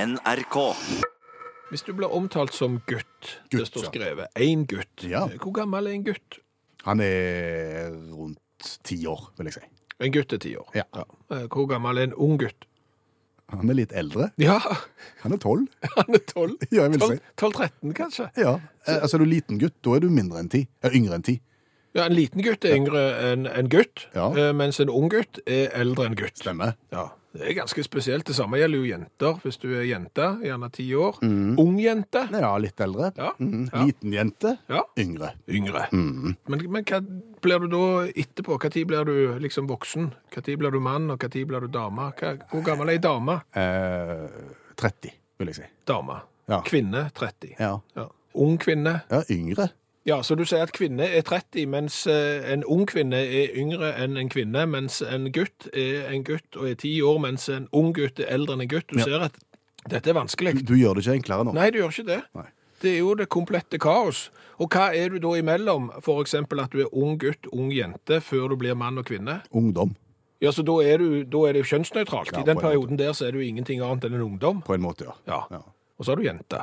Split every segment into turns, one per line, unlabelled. NRK.
Hvis du blir omtalt som gutt, det
Gutt,
står
ja.
skrevet én gutt.
Ja.
Hvor gammel er en gutt?
Han er rundt ti år, vil jeg si.
En gutt er ti år.
Ja.
Eh, Hvor gammel er en ung gutt?
Han er litt eldre.
Ja,
Han er tolv.
han er tolv.
Ja, jeg vil si.
12-13, kanskje.
Ja. Eh, Altså, er du liten gutt, da er du mindre enn ti. Eh, yngre enn ti.
Ja, En liten gutt er yngre enn en gutt,
Ja.
eh, mens en ung gutt er eldre enn gutt.
Stemmer.
Ja, Det er ganske spesielt. Det samme gjelder jo jenter. Hvis du er jente, gjerne ti år. Ung jente.
Ja, litt eldre.
Ja.
Mhm.
Ja.
Mm. Liten jente.
Ja.
Yngre. Mm.
Yngre. Men, men hva blir du da etterpå? Når blir du liksom voksen? Når blir du mann, og når blir du dame? Hva, hvor gammel er ei dame?
Eh, 30, vil jeg si.
Dame.
Ja.
Kvinne 30.
Ja.
Ja. Ung kvinne.
ja yngre.
Ja, så du sier at kvinne er 30, mens eh, en ung kvinne er yngre enn en kvinne, mens en gutt er en gutt og er 10 år, mens en ung gutt er eldre enn en gutt. Du ser at dette er vanskelig.
Du gjør det ikke enklere nå.
Nei, du gjør ikke det.
Nei.
Det er jo det komplette kaos. Og hva er du da imellom? For eksempel at du er ung gutt, ung jente, før du blir mann og kvinne.
Ungdom,
Ja, så da er, du, da er det jo kjønnsnøytralt. I
Ja,
den
på en måte.
perioden der så er du ingenting annet enn en ungdom.
på en måte, ja.
Ja.
Ja.
Og så har du jenta.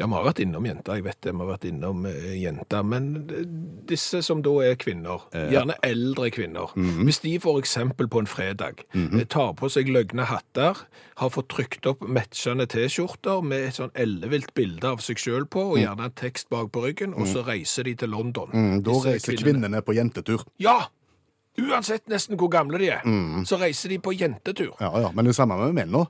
Ja, vi har vært innom jenta, jeg vet det, vi har vært innom eh, jenta, men eh, disse som da er kvinner, gjerne eldre kvinner,
Mhm.
hvis de for eksempel på en fredag eh, tar på seg løgne hatter, har fått trykt opp matchende t-skjorter med et sånn ellevilt bilde av seg selv på, og gjerne en tekst bak på ryggen, og så reiser de til London.
Mm, Da
Disse
reiser kvinnene på jentetur.
Ja! Uansett nesten hvor gamle de er, så reiser de på jentetur.
Ja, ja. Men det er samme med menn nå.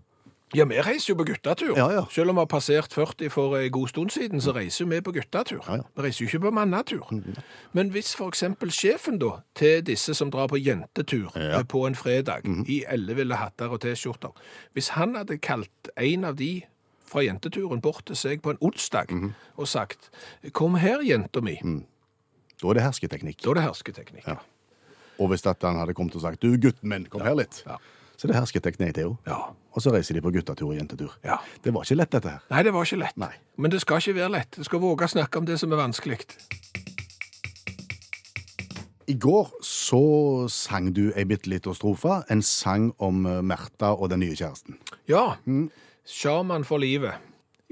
Ja, vi reiser jo på guttetur.
Ja, ja.
Selv om vi har passert 40 for en god stund siden, så reiser vi på guttetur.
Ja, Mm, ja.
Vi reiser jo ikke på mannetur. Men hvis for eksempel sjefen da, til disse som drar på jentetur eh, på en fredag,
Mm-hmm.
i elleville hatter og t-skjorter, hvis han hadde kalt en av de fra jenteturen bort til seg på en onsdag,
Mm-hmm.
og sagt, kom her, jenta mi,
Da er det hersketeknikk.
da er det hersketeknikk.
Mm. Ja. Og hvis at han hadde kommet og sagt 'du, gutten min, kom her litt',
Ja.
så er det hersketeknikk, Theo.
ja.
Og så reiser de på guttatur og jentetur.
Ja.
Det var ikke lett, dette her.
Nei, det var ikke lett.
Nei.
Men det skal ikke være lett. Du skal våge å snakke om det som er vanskelig.
I går så sang du ei bitte lita strofe, en sang om eh, Märtha og den nye kjæresten.
Ja. Sjaman for livet.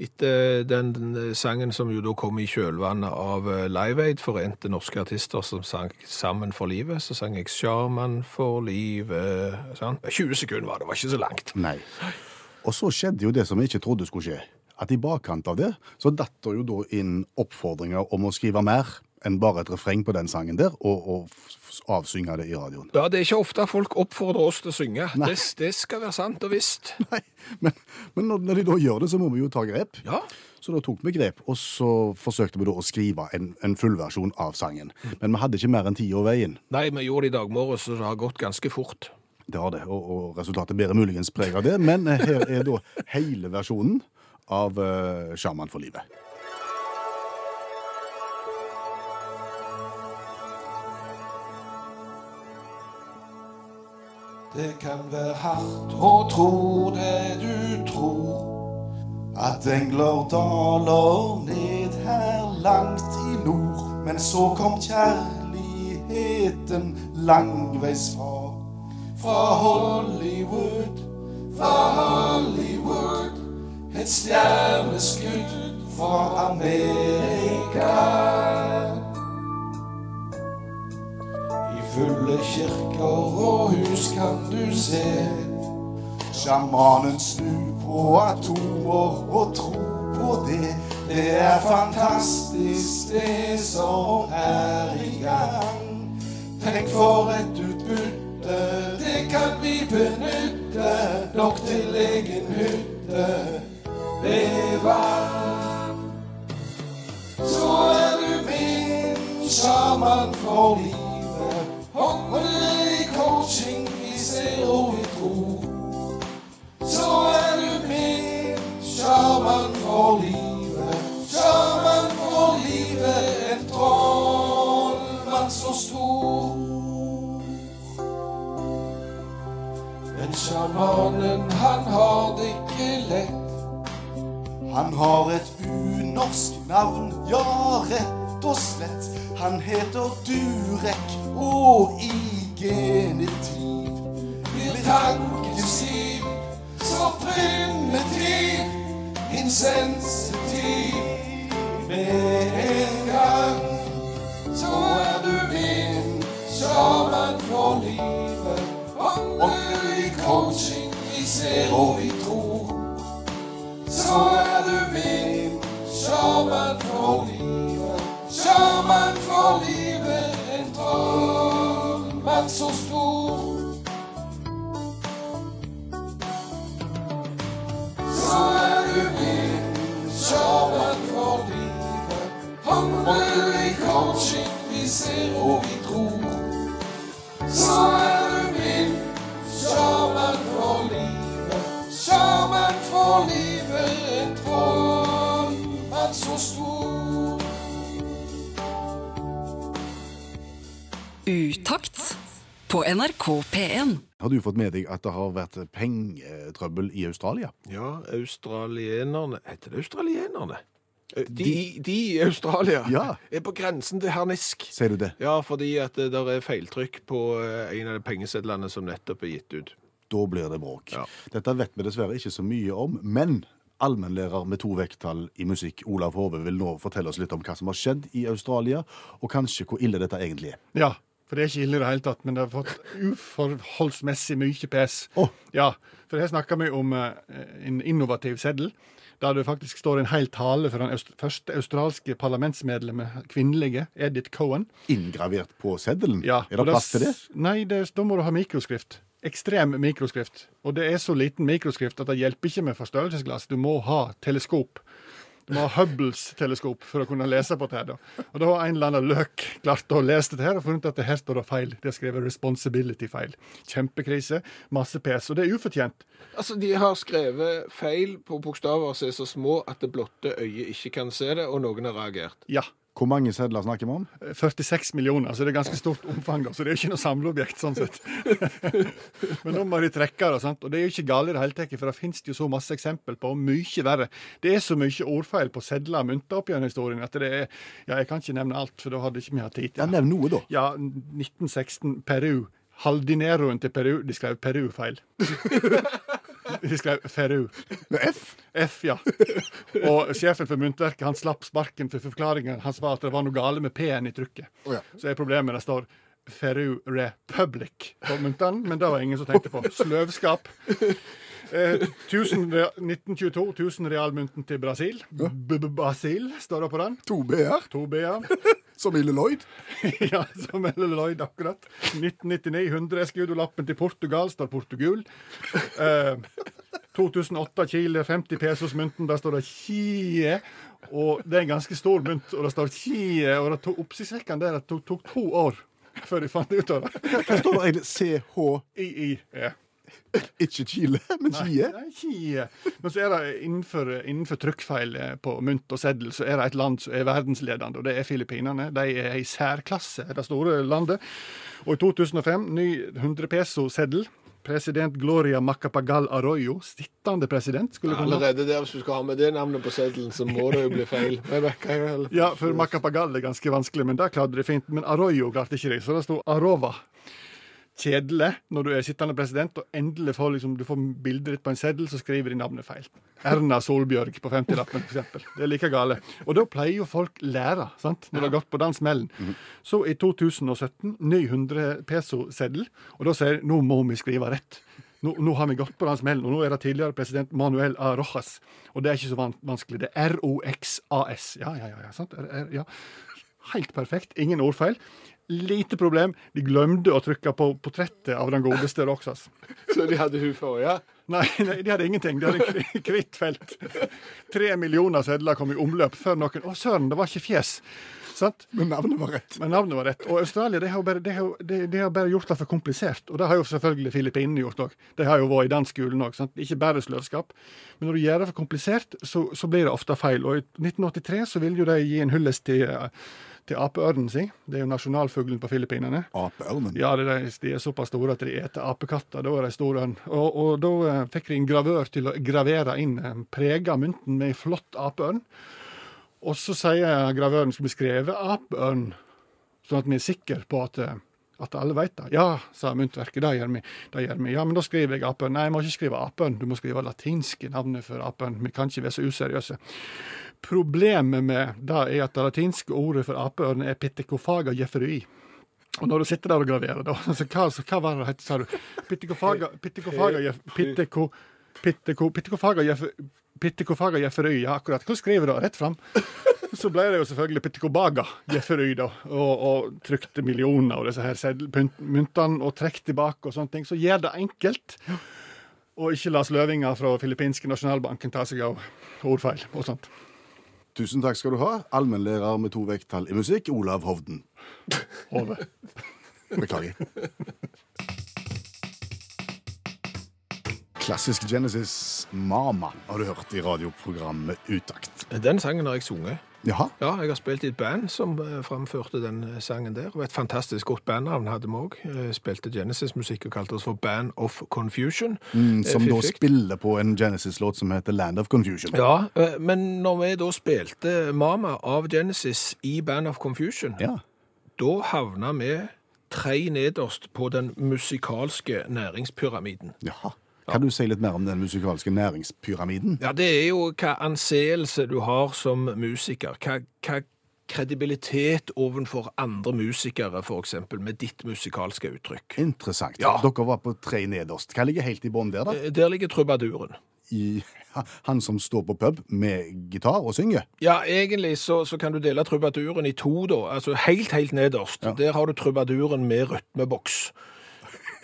Etter den den sangen som jo da kom i kjølvannet av eh, Live Aid, forente norske artister som sang Sammen for livet, så sang jeg Sjaman for livet. Sånn. 20 sekunder var det, det var ikke så langt.
Nei. Og så skjedde jo det som vi ikke trodde skulle skje. At i bakkant av det så datt det jo da inn oppfordringer om å skrive mer enn bare et refreng på den sangen der, og, og f- f- avsynge det i radioen.
Ja, Det er ikke ofte folk oppfordrer oss til å synge. Det, det skal være sant og visst.
Nei, men, men når, når de da gjør det, så må vi jo ta grep.
Ja.
Så da tok vi grep, og så forsøkte vi da å skrive en, en fullversjon av sangen. Men vi hadde ikke mer enn ti år veien.
Nei, vi gjorde det i dag morges, så det har gått ganske fort.
Det har det, og, og resultatet bærer muligens preg av det, men eh, her er da hele versjonen av eh, Sjaman for livet.
Det kan være hardt å tro det du tror. At engler daler ned her langt i nord. Men så kom kjærligheten langveisfra. Fra Hollywood, fra Hollywood. Et stjerneskudd fra Amerika. I fulle kirker og hus kan du se sjamanen snu på atomer og tro på det. Det er fantastisk, det som er i gang. Tenk for et utbytte, det kan vi benytte. Nok til egen hytte ved vann. Så er du min sjaman for livet. Håndle i coaching, vi ser og vi tror. Så er du min sjaman for livet. Sjaman for livet, en trollmann så stor. Men sjamanen, han har det ikke lett. Han har et unorsk navn, ja, rett og slett. Han heter Durek, og i genitiv blir tankesiv så primitiv. sensitiv med en gang. Så er du min sjaman for livet. Åndelig coaching vi ser og vi tror. Så er du min sjaman for livet. Sjaman for livet, en drømmann så stor. Så er du min sjaman for livet. Åndelig coaching vi ser og vi tror. Så er du min sjaman for livet. Sjaman for livet, en drømmann så stor.
Utakt på NRK P1.
Har du fått med deg at det har vært pengetrøbbel i Australia?
Ja, australienerne Heter det australienerne? Eh, De, de i Australia
Ja.
er på grensen til harnisk.
Sier du det?
Ja, fordi at det der er feiltrykk på eh, en av de pengesedlene som nettopp er gitt ut.
Da blir det bråk.
Ja.
Dette vet vi dessverre ikke så mye om, men allmennlærer med to vekttall i musikk, Olav Hove, vil nå fortelle oss litt om hva som har skjedd i Australia, og kanskje hvor ille dette egentlig er.
Ja, for det er ikke ille i det hele tatt, men det har fått uforholdsmessig mye pes.
Åh.
Ja, for her snakker vi om eh, en innovativ seddel, der det faktisk står en hel tale fra den aust første australske parlamentsmedlemmet, kvinnelige, Edith Cohen.
Inngravert på seddelen?
Ja,
er det
og
plass til det?
s- Nei, det, da må du ha mikroskrift. Ekstrem mikroskrift. Og det er så liten mikroskrift at det hjelper ikke med forstørrelsesglass. Du må ha teleskop. Du må ha Hubbles teleskop for å kunne lese på det. her da. Og da har en eller annen løk klart å lese dette her og funnet at det her står det feil. De har skrevet 'responsibility' feil. Kjempekrise. Masse pes. Og det er ufortjent.
Altså, De har skrevet feil på bokstaver som er så små at det blotte øyet ikke kan se det, og noen har reagert.
Ja.
Hvor mange sedler snakker vi om?
46 millioner, så det er ganske stort omfang. da, Så det er jo ikke noe samleobjekt, sånn sett. Men nå må de trekke det, sant? og det er jo ikke gale i det hele tatt, for det finnes det jo så masse eksempel på, og mye verre. Det er så mye ordfeil på sedler og mynter opp gjennom historien at det er Ja, jeg kan ikke nevne alt, for da hadde ikke vi hatt tid.
Ja, nevn noe, da.
Ja, 1916, Peru. Haldineroen til Peru. De skrev Peru feil. De skrev Feru.
Med F?
F, ja. Og sjefen for myntverket han slapp sparken for forklaringen. Han var at det var noe gale med P-en i trykket.
Å, ja.
Så er problemet det står Ferru Republic på myntene, men det var ingen som tenkte på. Sløvskap. Eh, 1000 rea- 1922, 1000 realmynten til Brasil. B-Brasil står det på den.
To B-er,
To B-er.
som i Lloyd.
ja, som Ellen Lloyd akkurat. 1999, 100 skuddolappen til Portugal, står Portugul. Eh, 2008, Chile, 50 pesos-mynten, der står det Chie. Og det er en ganske stor mynt, og det står Chie. Og det tok oppsiktsvekkende er at det tok to år før de fant ut av det.
Hva står det egentlig? CH,
I-I-E.
ikke Chile, men Chie.
Nei, Chie. Men så er det innenfor, innenfor trykkfeil eh, på mynt og seddel, så er det et land som er verdensledende, og det er Filippinene. De er i særklasse, det store landet. Og i 2005, ny 100 peso-seddel. President Gloria Macapagal Arroyo, sittende president, skulle komme
Allerede der, hvis du skal ha med det navnet på seddelen, så må det jo bli feil. Rebecca, jeg vil-
Ja, for Macapagal er ganske vanskelig, men det klarte de fint. Men Arroyo klarte ikke det, så det sto Arova. Kjedelig når du er sittende president og endelig får liksom, du får bildet ditt på en seddel, så skriver de navnet feil. Erna Solbjørg på 50-lappen, f.eks. Det er like gale. Og da pleier jo folk lære, sant, når det har gått på den smellen. Så i 2017, ny 100 peso-seddel, og da sier de nå må vi skrive rett. Nå, nå har vi gått på den smellen, og nå er det tidligere president Manuel A. Rojas. Og det er ikke så van vanskelig. Det er ROXAS. Ja, ja, ja. ja, sant? R R ja. Helt perfekt. Ingen ordfeil. Lite problem. De glemte å trykke på portrettet av den godeste Roxas.
Så de hadde hun forrige.
Nei, nei, de hadde ingenting. De hadde en kri- kvitt felt. Tre millioner sedler kom i omløp før noen Å, søren, det var ikke fjes. Sant?
Men navnet var rett.
Men navnet var rett. Og Australia de har, jo bare, de har, jo- de, de har bare gjort det for komplisert. Og det har jo selvfølgelig Filippinene gjort òg. De har jo vært i den skolen òg. Ikke bare sløvskap. Men når du gjør det for komplisert, så, så blir det ofte feil. Og i 1983 så ville jo de gi en hyllest til, eh, til apeørnen sin. Det er jo nasjonalfuglen på Filippinene.
Apeørnen.
Ja, det er de, de er såpass store at de eter apekatter. Da er de store. Og, og da eh, fikk de en gravør til å gravere inn, eh, prega mynten med en flott apeørn. Og så sier gravøren skal vi skrive apeørn, sånn at vi er sikre på at, eh, At alle veit det. Ja, sa myntverket, det gjør vi. Det gjør vi. Ja, men da skriver jeg apen. Nei, jeg må ikke skrive apen, du må skrive latinske navnet for apen. Vi kan ikke være så useriøse. Problemet med det er at det latinske ordet for apeørn er pittekofaga jefferui. Og når du sitter der og graverer, da altså, hva, så, hva var det het, sa du? Pittekofaga Pittekofaga jef- Pitteko... Pitteko... Pittekofaga jef... Pittekofaga jefferøy, ja, akkurat. Hva skriver du da? Rett fram. Så ble det jo selvfølgelig Pittekobaga jefferøy, da. Og, og trykte millioner av disse her seddel- pynt- myntene og trekk tilbake og sånne ting. Så gjør det enkelt. Og ikke la sløvinger fra filippinske nasjonalbanken ta seg av ordfeil og sånt.
Tusen takk skal du ha, allmennlærer med to vekttall i musikk, Olav Hovden.
Over.
Beklager. Klassisk Genesis Mama har du hørt i radioprogrammet Utakt.
Den sangen har jeg sunget.
Jaha,
Ja, jeg har spilt i et band som eh, framførte den eh, sangen der. Og et fantastisk godt bandnavn hadde vi òg. Spilte Genesis-musikk og kalte oss for Band of Confusion. Eh,
Mm, som da
fiffig.
spiller på en Genesis-låt som heter Land of Confusion.
Ja, eh, men når vi da spilte Mama av Genesis i Band of Confusion,
Ja.
da havna vi tre nederst på den musikalske næringspyramiden.
Jaha. Kan du si litt mer om den musikalske næringspyramiden?
Ja, det er jo hva anseelse du har som musiker. Hva, hva kredibilitet overfor andre musikere, for eksempel, med ditt musikalske uttrykk.
Interessant.
Ja.
Dere var på tre nederst. Hva ligger helt i bånn der, da?
Eh, Der ligger trubaduren.
I, han som står på pub med gitar og synger?
Ja, egentlig så, så kan du dele trubaduren i to, da. Altså helt, helt nederst. Der har du trubaduren med rytmeboks.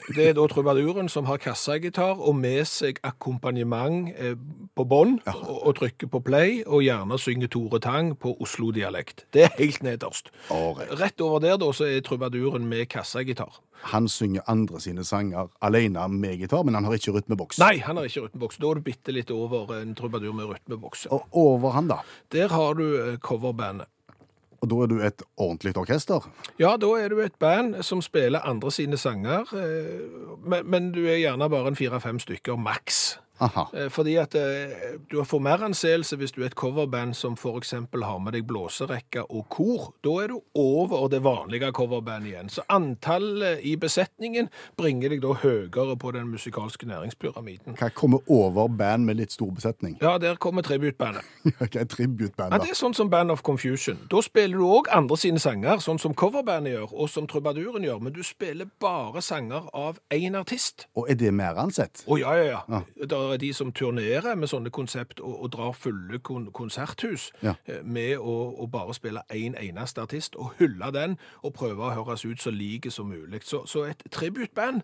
Det er da trubaduren som har kassagitar og med seg akkompagnement eh, på bånd, og, og trykker på play, og gjerne synger Tore Tang på Oslo-dialekt. Det er helt nederst.
Ålreit.
Rett over der, da, så er trubaduren med kassagitar.
Han synger andre sine sanger alene med gitar, men han har ikke rytmeboks.
Nei, han har ikke rytmeboks. Da er du bitte litt over en trubadur med rytmeboks.
Og over han, da.
Der har du eh, coverbandet.
Og da er du et ordentlig orkester.
Ja, da er du et band som spiller andre sine sanger, eh, men, men du er gjerne bare en fire-fem stykker maks.
Aha.
Eh, Fordi at eh, du får mer anseelse hvis du er et coverband som for eksempel har med deg blåserekke og kor. Da er du over det vanlige coverbandet igjen. Så antallet i besetningen bringer deg da høyere på den musikalske næringspyramiden.
Hva kommer over band med litt stor besetning?
Ja, der kommer tributbandet.
Hva er
Ja,
tributeband,
det
da?
er sånn som Band of Confusion. Da spiller du òg andre sine sanger, sånn som coverbandet gjør, og som trubaduren gjør, men du spiller bare sanger av én artist.
Og er det mer ansett?
Å ja, ja, ja. Det er de som turnerer med sånne konsept og, og drar fulle kon konserthus
Ja.
eh, med å, å bare spille én en eneste artist, og hylle den, og prøve å høres ut så like som mulig. Så, så et tributband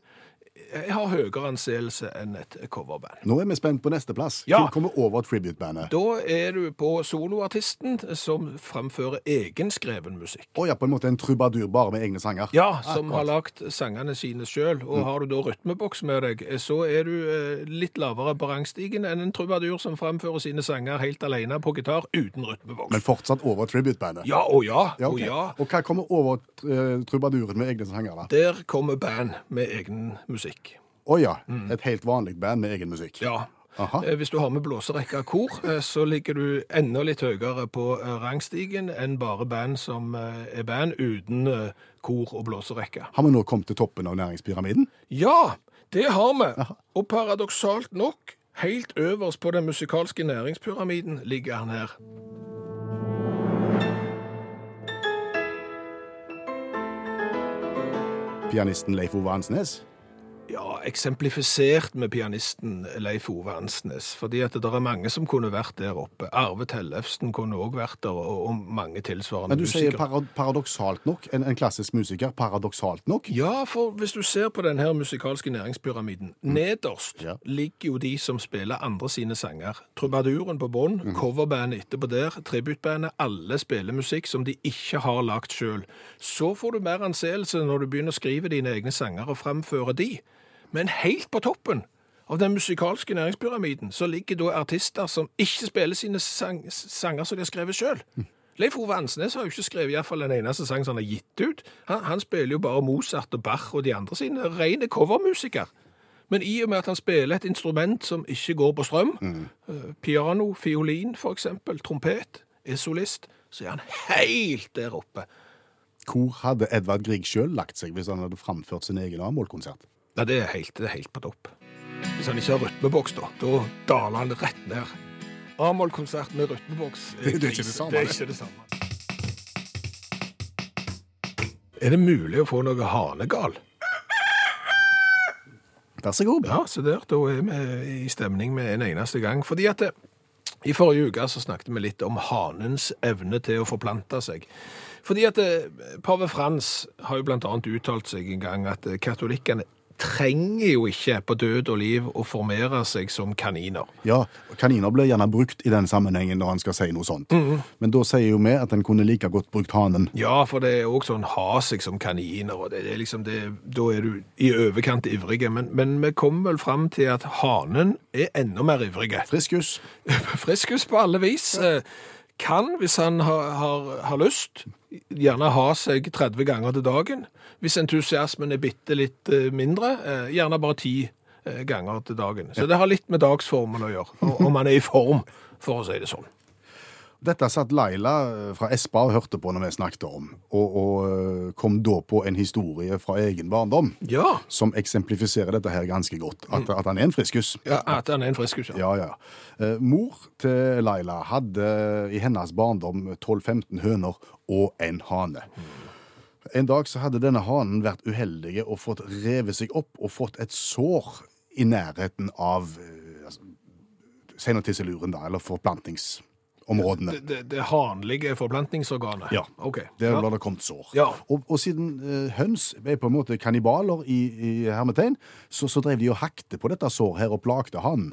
eh, har høyere anseelse enn et coverband.
Nå er vi spent på neste plass.
Ja.
Hvor kommer over tributebandet? Å
Da er du på soloartisten som framfører egenskreven musikk.
ja, på en måte en trubadur bare med egne sanger.
Ja, som har lagt sangene sine sjøl. Og
Mm.
har du da rytmeboks med deg, så er du eh, litt lavere på rangstigen enn en trubadur som framfører sine sanger helt alene på gitar uten rytmeboks.
Men fortsatt over tributebandet.
Ja og ja, og
ok.
ja.
og hva kommer over eh, trubaduren med egne sanger, da?
Der kommer band med egen musikk.
Å ja, et helt vanlig band med egen musikk.
Mm. Ja.
Aha.
Eh, Hvis du har med blåserekke av kor, eh, så ligger du enda litt høyere på eh, rangstigen enn bare band som eh, er band uten eh, kor og blåserekke.
Har vi nå kommet til toppen av næringspyramiden?
Ja, det har vi. Og paradoksalt nok, helt øverst på den musikalske næringspyramiden ligger han her.
Pianisten Leif Ove Ansnes?
Ja, eksemplifisert med pianisten Leif Ove Ansnes, fordi at det er mange som kunne vært der oppe. Arve Tellefsen kunne òg vært der, og, og mange tilsvarende
Men du sier
musikere.
parad paradoksalt nok. En, en klassisk musiker, paradoksalt nok.
Ja, for hvis du ser på den her musikalske næringspyramiden,
Mm.
nederst
Ja.
ligger jo de som spiller andre sine sanger. Trubaduren på bånn, coverbandet etterpå der, tributbandet, alle spiller musikk som de ikke har lagt sjøl. Så får du mer anseelse når du begynner å skrive dine egne sanger og framføre de. Men helt på toppen av den musikalske næringspyramiden så ligger da artister som ikke spiller sine sang sanger som de har skrevet sjøl. Leif Ove Ansnes har jo ikke skrevet i hvert fall en eneste sang som han har gitt ut. Han, han spiller jo bare Mozart og Bach og de andre sine. Rene covermusiker. Men i og med at han spiller et instrument som ikke går på strøm,
Mm.
eh, piano, fiolin for eksempel, trompet, er solist, så er han helt der oppe.
Hvor hadde Edvard Grieg sjøl lagt seg hvis han hadde framført sin egen A-mollkonsert?
Nei, det er helt, det er helt på topp. Hvis han ikke har rytmeboks, da, da daler han rett ned. A-moll-konsert med rytmeboks er
Det- det er ikke
krise.
det samme,
Det er
det.
ikke det samme. Er det mulig å få noe hanegal?
Vær så god.
Ja, så der, da er vi i stemning med en eneste gang. Fordi at det, i forrige uke så snakket vi litt om hanens evne til å forplante seg. Fordi at eh, pave Frans har jo blant annet uttalt seg en gang at eh, katolikkene trenger jo ikke på død og liv å formere seg som kaniner.
Ja, Kaniner blir gjerne brukt i den sammenhengen når han skal si noe sånt.
Mm.
Men da sier jo vi at en kunne like godt brukt hanen.
Ja, for det er også sånn ha seg som kaniner, og det, det er liksom det, da er du i overkant ivrige. Men, men vi kom vel fram til at hanen er enda mer ivrige.
Friskus.
Friskus på alle vis. eh, Kan, hvis han har, har, har lyst, gjerne ha seg 30 ganger til dagen. Hvis entusiasmen er bitte litt eh, mindre, eh, gjerne bare 10 eh, ganger til dagen. Så det har litt med dagsformen å gjøre, og- om han er i form, for å si det sånn.
Dette satt Laila eh, fra Espa og hørte på når vi snakket om, og, og eh, kom da på en historie fra egen barndom
Ja,
som eksemplifiserer dette her ganske godt. At, at han er en friskus.
ja at han er en friskus, ja.
Ja, ja. Eh, Mor til Laila hadde i hennes barndom 12-15 høner og en hane. En dag så hadde denne hanen vært uheldig og fått revet seg opp og fått et sår i nærheten av eh, altså, senotisseluren, da, eller forplantingsområdene.
Det, det, det hanlige forplantningsorganet?
Ja.
Ok.
Der
Ja.
ble det kommet sår.
Ja.
Og, og siden eh, høns er på en måte kannibaler i, i hermetegn, så, så drev de og hakte på dette såret her og plagte hanen.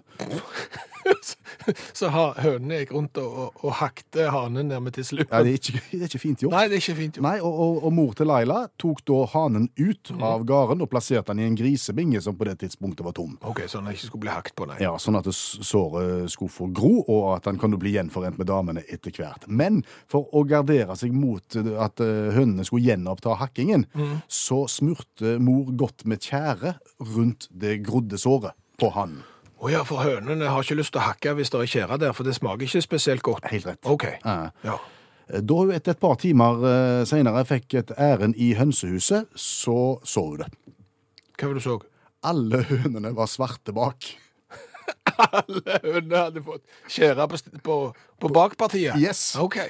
Så ha, hønene gikk rundt og, og, og hakte hanen ned med tisseluren?
Ja, det, er ikke, det er ikke fint gjort.
Nei, det er ikke fint. Jo.
Nei, og, og, og mor til Laila tok da hanen ut
Mm.
av gården og plasserte den i en grisebinge som på det tidspunktet var tom.
Ok, så han ikke skulle bli hakt på, nei.
Ja, Sånn at det s- såret skulle få gro, og at han kunne bli gjenforent med damene etter hvert. Men for å gardere seg mot eh, at eh, hønene skulle gjenoppta hakkingen, så smurte mor godt med tjære rundt det grodde såret på hanen.
Å ja, for hønene har ikke lyst til å hakke hvis det er tjære der, for det smaker ikke spesielt godt.
Helt rett.
Ok.
Ja.
Ja.
Da hun etter et par timer eh, senere fikk et ærend i hønsehuset, så så hun det.
Hva var det du så?
Alle hønene var svarte bak.
Alle hønene hadde fått tjære på, st- på, på bakpartiet?
Yes.
Ok.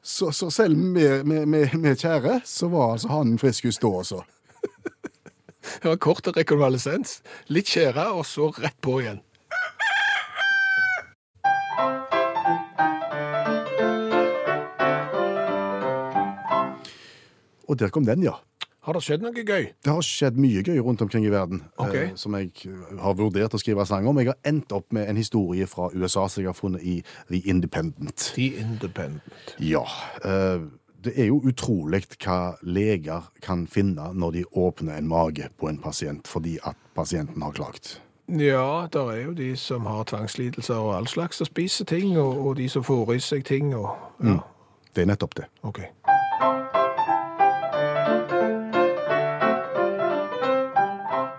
Så, så selv med, med, med, med kjære, så var altså hanen friskus da også.
Det var kort rekonvalesens. Litt tjære, og så rett på igjen.
Og der kom den, ja.
Har det skjedd noe gøy?
Det har skjedd mye gøy rundt omkring i verden
Ok.
eh, som jeg har vurdert å skrive sang om. Jeg har endt opp med en historie fra USA som jeg har funnet i The Independent.
The Independent.
Ja. eh, det er jo utrolig hva leger kan finne når de åpner en mage på en pasient fordi at pasienten har klagt.
Ja, der er jo de som har tvangslidelser og all slags, og spiser ting, og, og de som får i seg ting, og... Ja,
Det er nettopp det.
ok.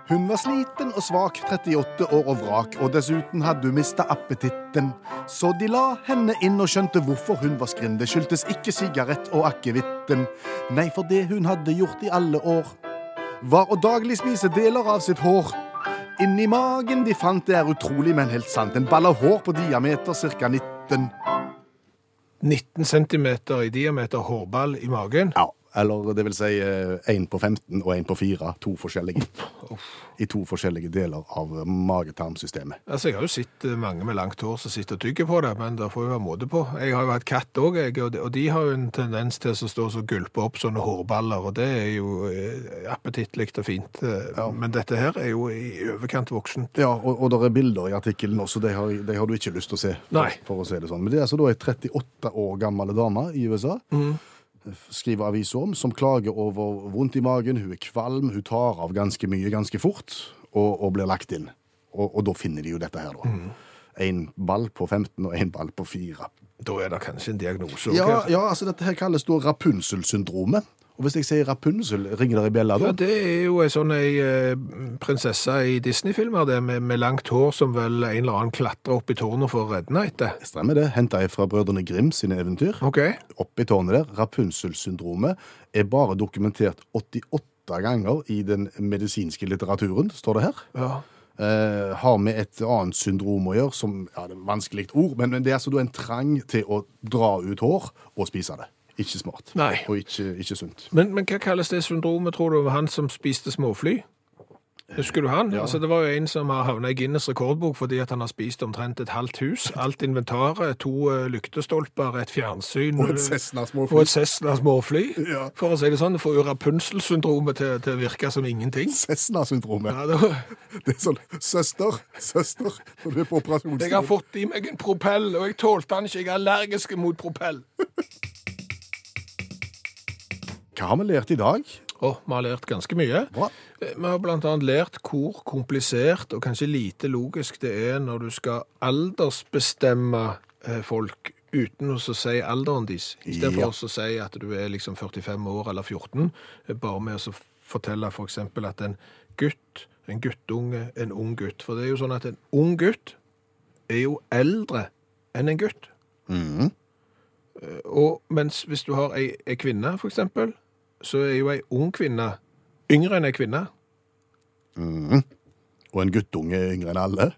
Hun var sliten og svak, 38 år og vrak, og dessuten hadde hun mista appetitten. Så de la henne inn og skjønte hvorfor hun var skrinn. Det skyldtes ikke sigarett og akevitten. Nei, for det hun hadde gjort i alle år, var å daglig spise deler av sitt hår. Inni magen de fant det er utrolig, men helt sant, en ball av hår på diameter ca. 19.
19 centimeter i diameter hårball i magen.
Ja, eller det vil si én på 15 og én på 4. To forskjellige. I to forskjellige deler av magetarmsystemet.
Altså, Jeg har jo sett eh, mange med langt hår som sitter og tygger på det, men det får jo være måte på. Jeg har jo hatt katt òg, og de- og de har jo en tendens til å stå og gulpe opp sånne hårballer, og det er jo eh, appetittlig og fint. eh, Men dette her er jo i overkant voksent.
Ja, og, og det er bilder i artikkelen også, de har, de har du ikke lyst til å se.
Nei.
For, for å si det sånn. Men det er altså da ei 38 år gammel dame i USA,
Mm.
skriver avisa om, som klager over vondt i magen, hun er kvalm, hun tar av ganske mye ganske fort, og, og blir lagt
Mm.
inn. Og, og da finner de jo dette her, da. Én ball på 15 og én ball på 4.
Da er det kanskje en diagnose.
Ja,
også.
ja, altså dette her kalles da Rapunzel-syndromet. Og hvis jeg sier Rapunzel, ringer det i bjella da?
Ja, det er jo ei sånn ei eh, prinsesse i Disney-filmer, det med, med langt hår som vel en eller annen klatrer opp i tårnet for å redde henne etter.
Stemmer det. Henta jeg fra Brødrene Grimm sine eventyr.
OK.
Opp i tårnet der. Rapunzel-syndromet er bare dokumentert 88 ganger i den medisinske litteraturen, står det her.
Ja.
eh, har med et annet syndrom å gjøre, som ja, det er et vanskelig ord, men, men det er altså da en trang til å dra ut hår og spise det. Ikke smart.
Nei.
Og ikke, ikke sunt.
Men, men hva kalles det syndromet, tror du, over han som spiste småfly? Husker du han? Altså, det var jo en som har havna i Guinness rekordbok fordi at han har spist omtrent et halvt hus. Alt inventaret, to eh, lyktestolper, et fjernsyn eh,
Og et Cessna-småfly.
Og et Cessna småfly.
Ja.
For å si det sånn, det får jo Rapunzel-syndromet til, til å virke som ingenting.
Cessna-syndromet.
Ja, det,
Det er sånn Søster, søster, når du er
jeg har
på operasjonsstua
fått i meg en propell, og jeg tålte han ikke. Jeg er allergisk mot propell.
Hva har vi lært i dag?
Og vi har lært ganske mye.
Bra.
Vi har blant annet lært hvor komplisert og kanskje lite logisk det er når du skal aldersbestemme eh, folk uten å så si alderen deres. I stedet
Ja.
for å så si at du er liksom 45 år eller 14, eh, bare med å så fortelle for eksempel at en gutt, en guttunge, en ung gutt. For det er jo sånn at en ung gutt er jo eldre enn en gutt. Eh, Og mens hvis du har ei, ei kvinne, for eksempel, så er jo ei ung kvinne yngre enn ei kvinne.
Og en guttunge er yngre enn alle.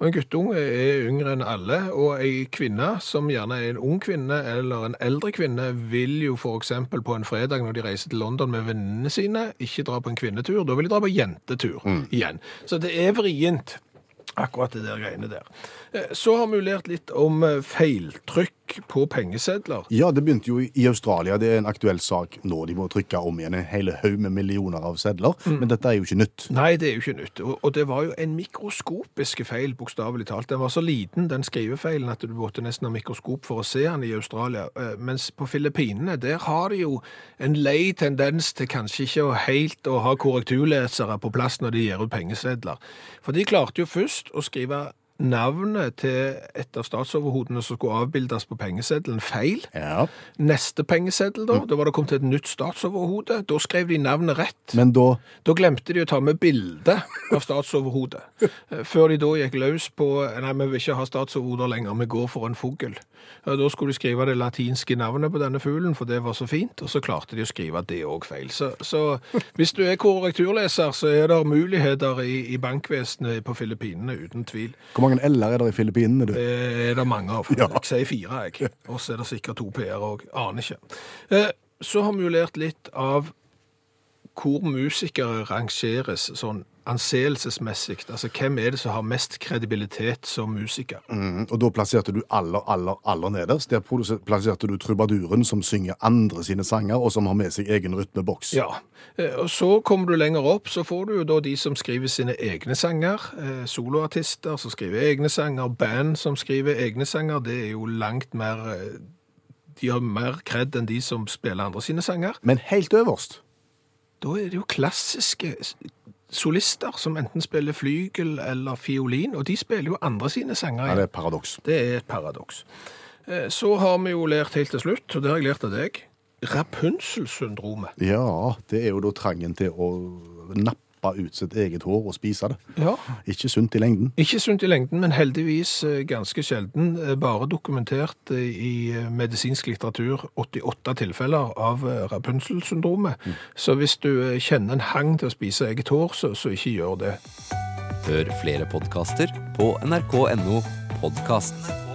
Og en guttunge er yngre enn alle, og ei kvinne, som gjerne er en ung kvinne eller en eldre kvinne, vil jo for eksempel på en fredag når de reiser til London med vennene sine, ikke dra på en kvinnetur, da vil de dra på jentetur igjen. Så det er vrient, akkurat det der greiene der. Eh, Så har vi jo lært litt om eh, feiltrykk på pengesedler.
Ja, det begynte jo i- i Australia. Det er en aktuell sak nå. De må trykke om igjen en hel haug med millioner av sedler.
Mm.
Men dette er jo ikke nytt.
Nei, det er jo ikke nytt. Og, og det var jo en mikroskopisk feil, bokstavelig talt. Den var så liten, den skrivefeilen, at du måtte nesten ha mikroskop for å se den i Australia. Eh, Mens på Filippinene, der har de jo en lei tendens til kanskje ikke å helt å ha korrekturlesere på plass når de gir ut pengesedler. For de klarte jo først å skrive navnet til et av statsoverhodene som skulle avbildes på pengeseddelen feil.
Ja.
Neste pengeseddel, da, da var det kommet et nytt statsoverhode. Da skrev de navnet rett.
Men da
Da glemte de å ta med bilde av statsoverhodet. Eh, Før de da gikk løs på Nei, vi vil ikke ha statsoverhoder lenger, vi går for en fugl. Eh, Da skulle de skrive det latinske navnet på denne fuglen, for det var så fint, og så klarte de å skrive det òg feil. Så, så hvis du er korrekturleser, så er det muligheter i, i bankvesenet på Filippinene, uten tvil.
Hvor mange L-er er det i Filippinene, du?
Det er Eh, det mange av.
Ja.
Jeg sier fire, jeg. Og så er det sikkert to PR òg. Aner ikke. Eh, Så har vi jo lært litt av hvor musikere rangeres sånn anseelsesmessig. Altså hvem er det som har mest kredibilitet som musiker?
Mm, og da plasserte du aller, aller, aller nederst. Der produse- plasserte du trubaduren som synger andre sine sanger, og som har med seg egen rytmeboks.
Ja. Eh, Og så kommer du lenger opp, så får du jo da de som skriver sine egne sanger. eh, Soloartister som skriver egne sanger, band som skriver egne sanger. Det er jo langt mer eh, De har mer kred enn de som spiller andre sine sanger.
Men helt øverst
Da er det jo klassiske s- solister som enten spiller flygel eller fiolin, og de spiller jo andre sine sanger.
er
igjen.
det et paradoks.
Det er et paradoks. Eh, Så har vi jo lært helt til slutt, og det har jeg lært av deg, Rapunzel-syndromet.
Ja, det er jo da trangen til å nappe ut sitt eget hår og spise det.
Ja.
Ikke sunt i lengden.
Ikke sunt i lengden, men heldigvis eh, ganske sjelden. Eh, Bare dokumentert eh, i eh, medisinsk litteratur 88 tilfeller av eh, Rapunzel-syndromet. Så hvis du eh, kjenner en hang til å spise eget hår, så, så ikke gjør det.
Hør flere podkaster på nrk.no podkast.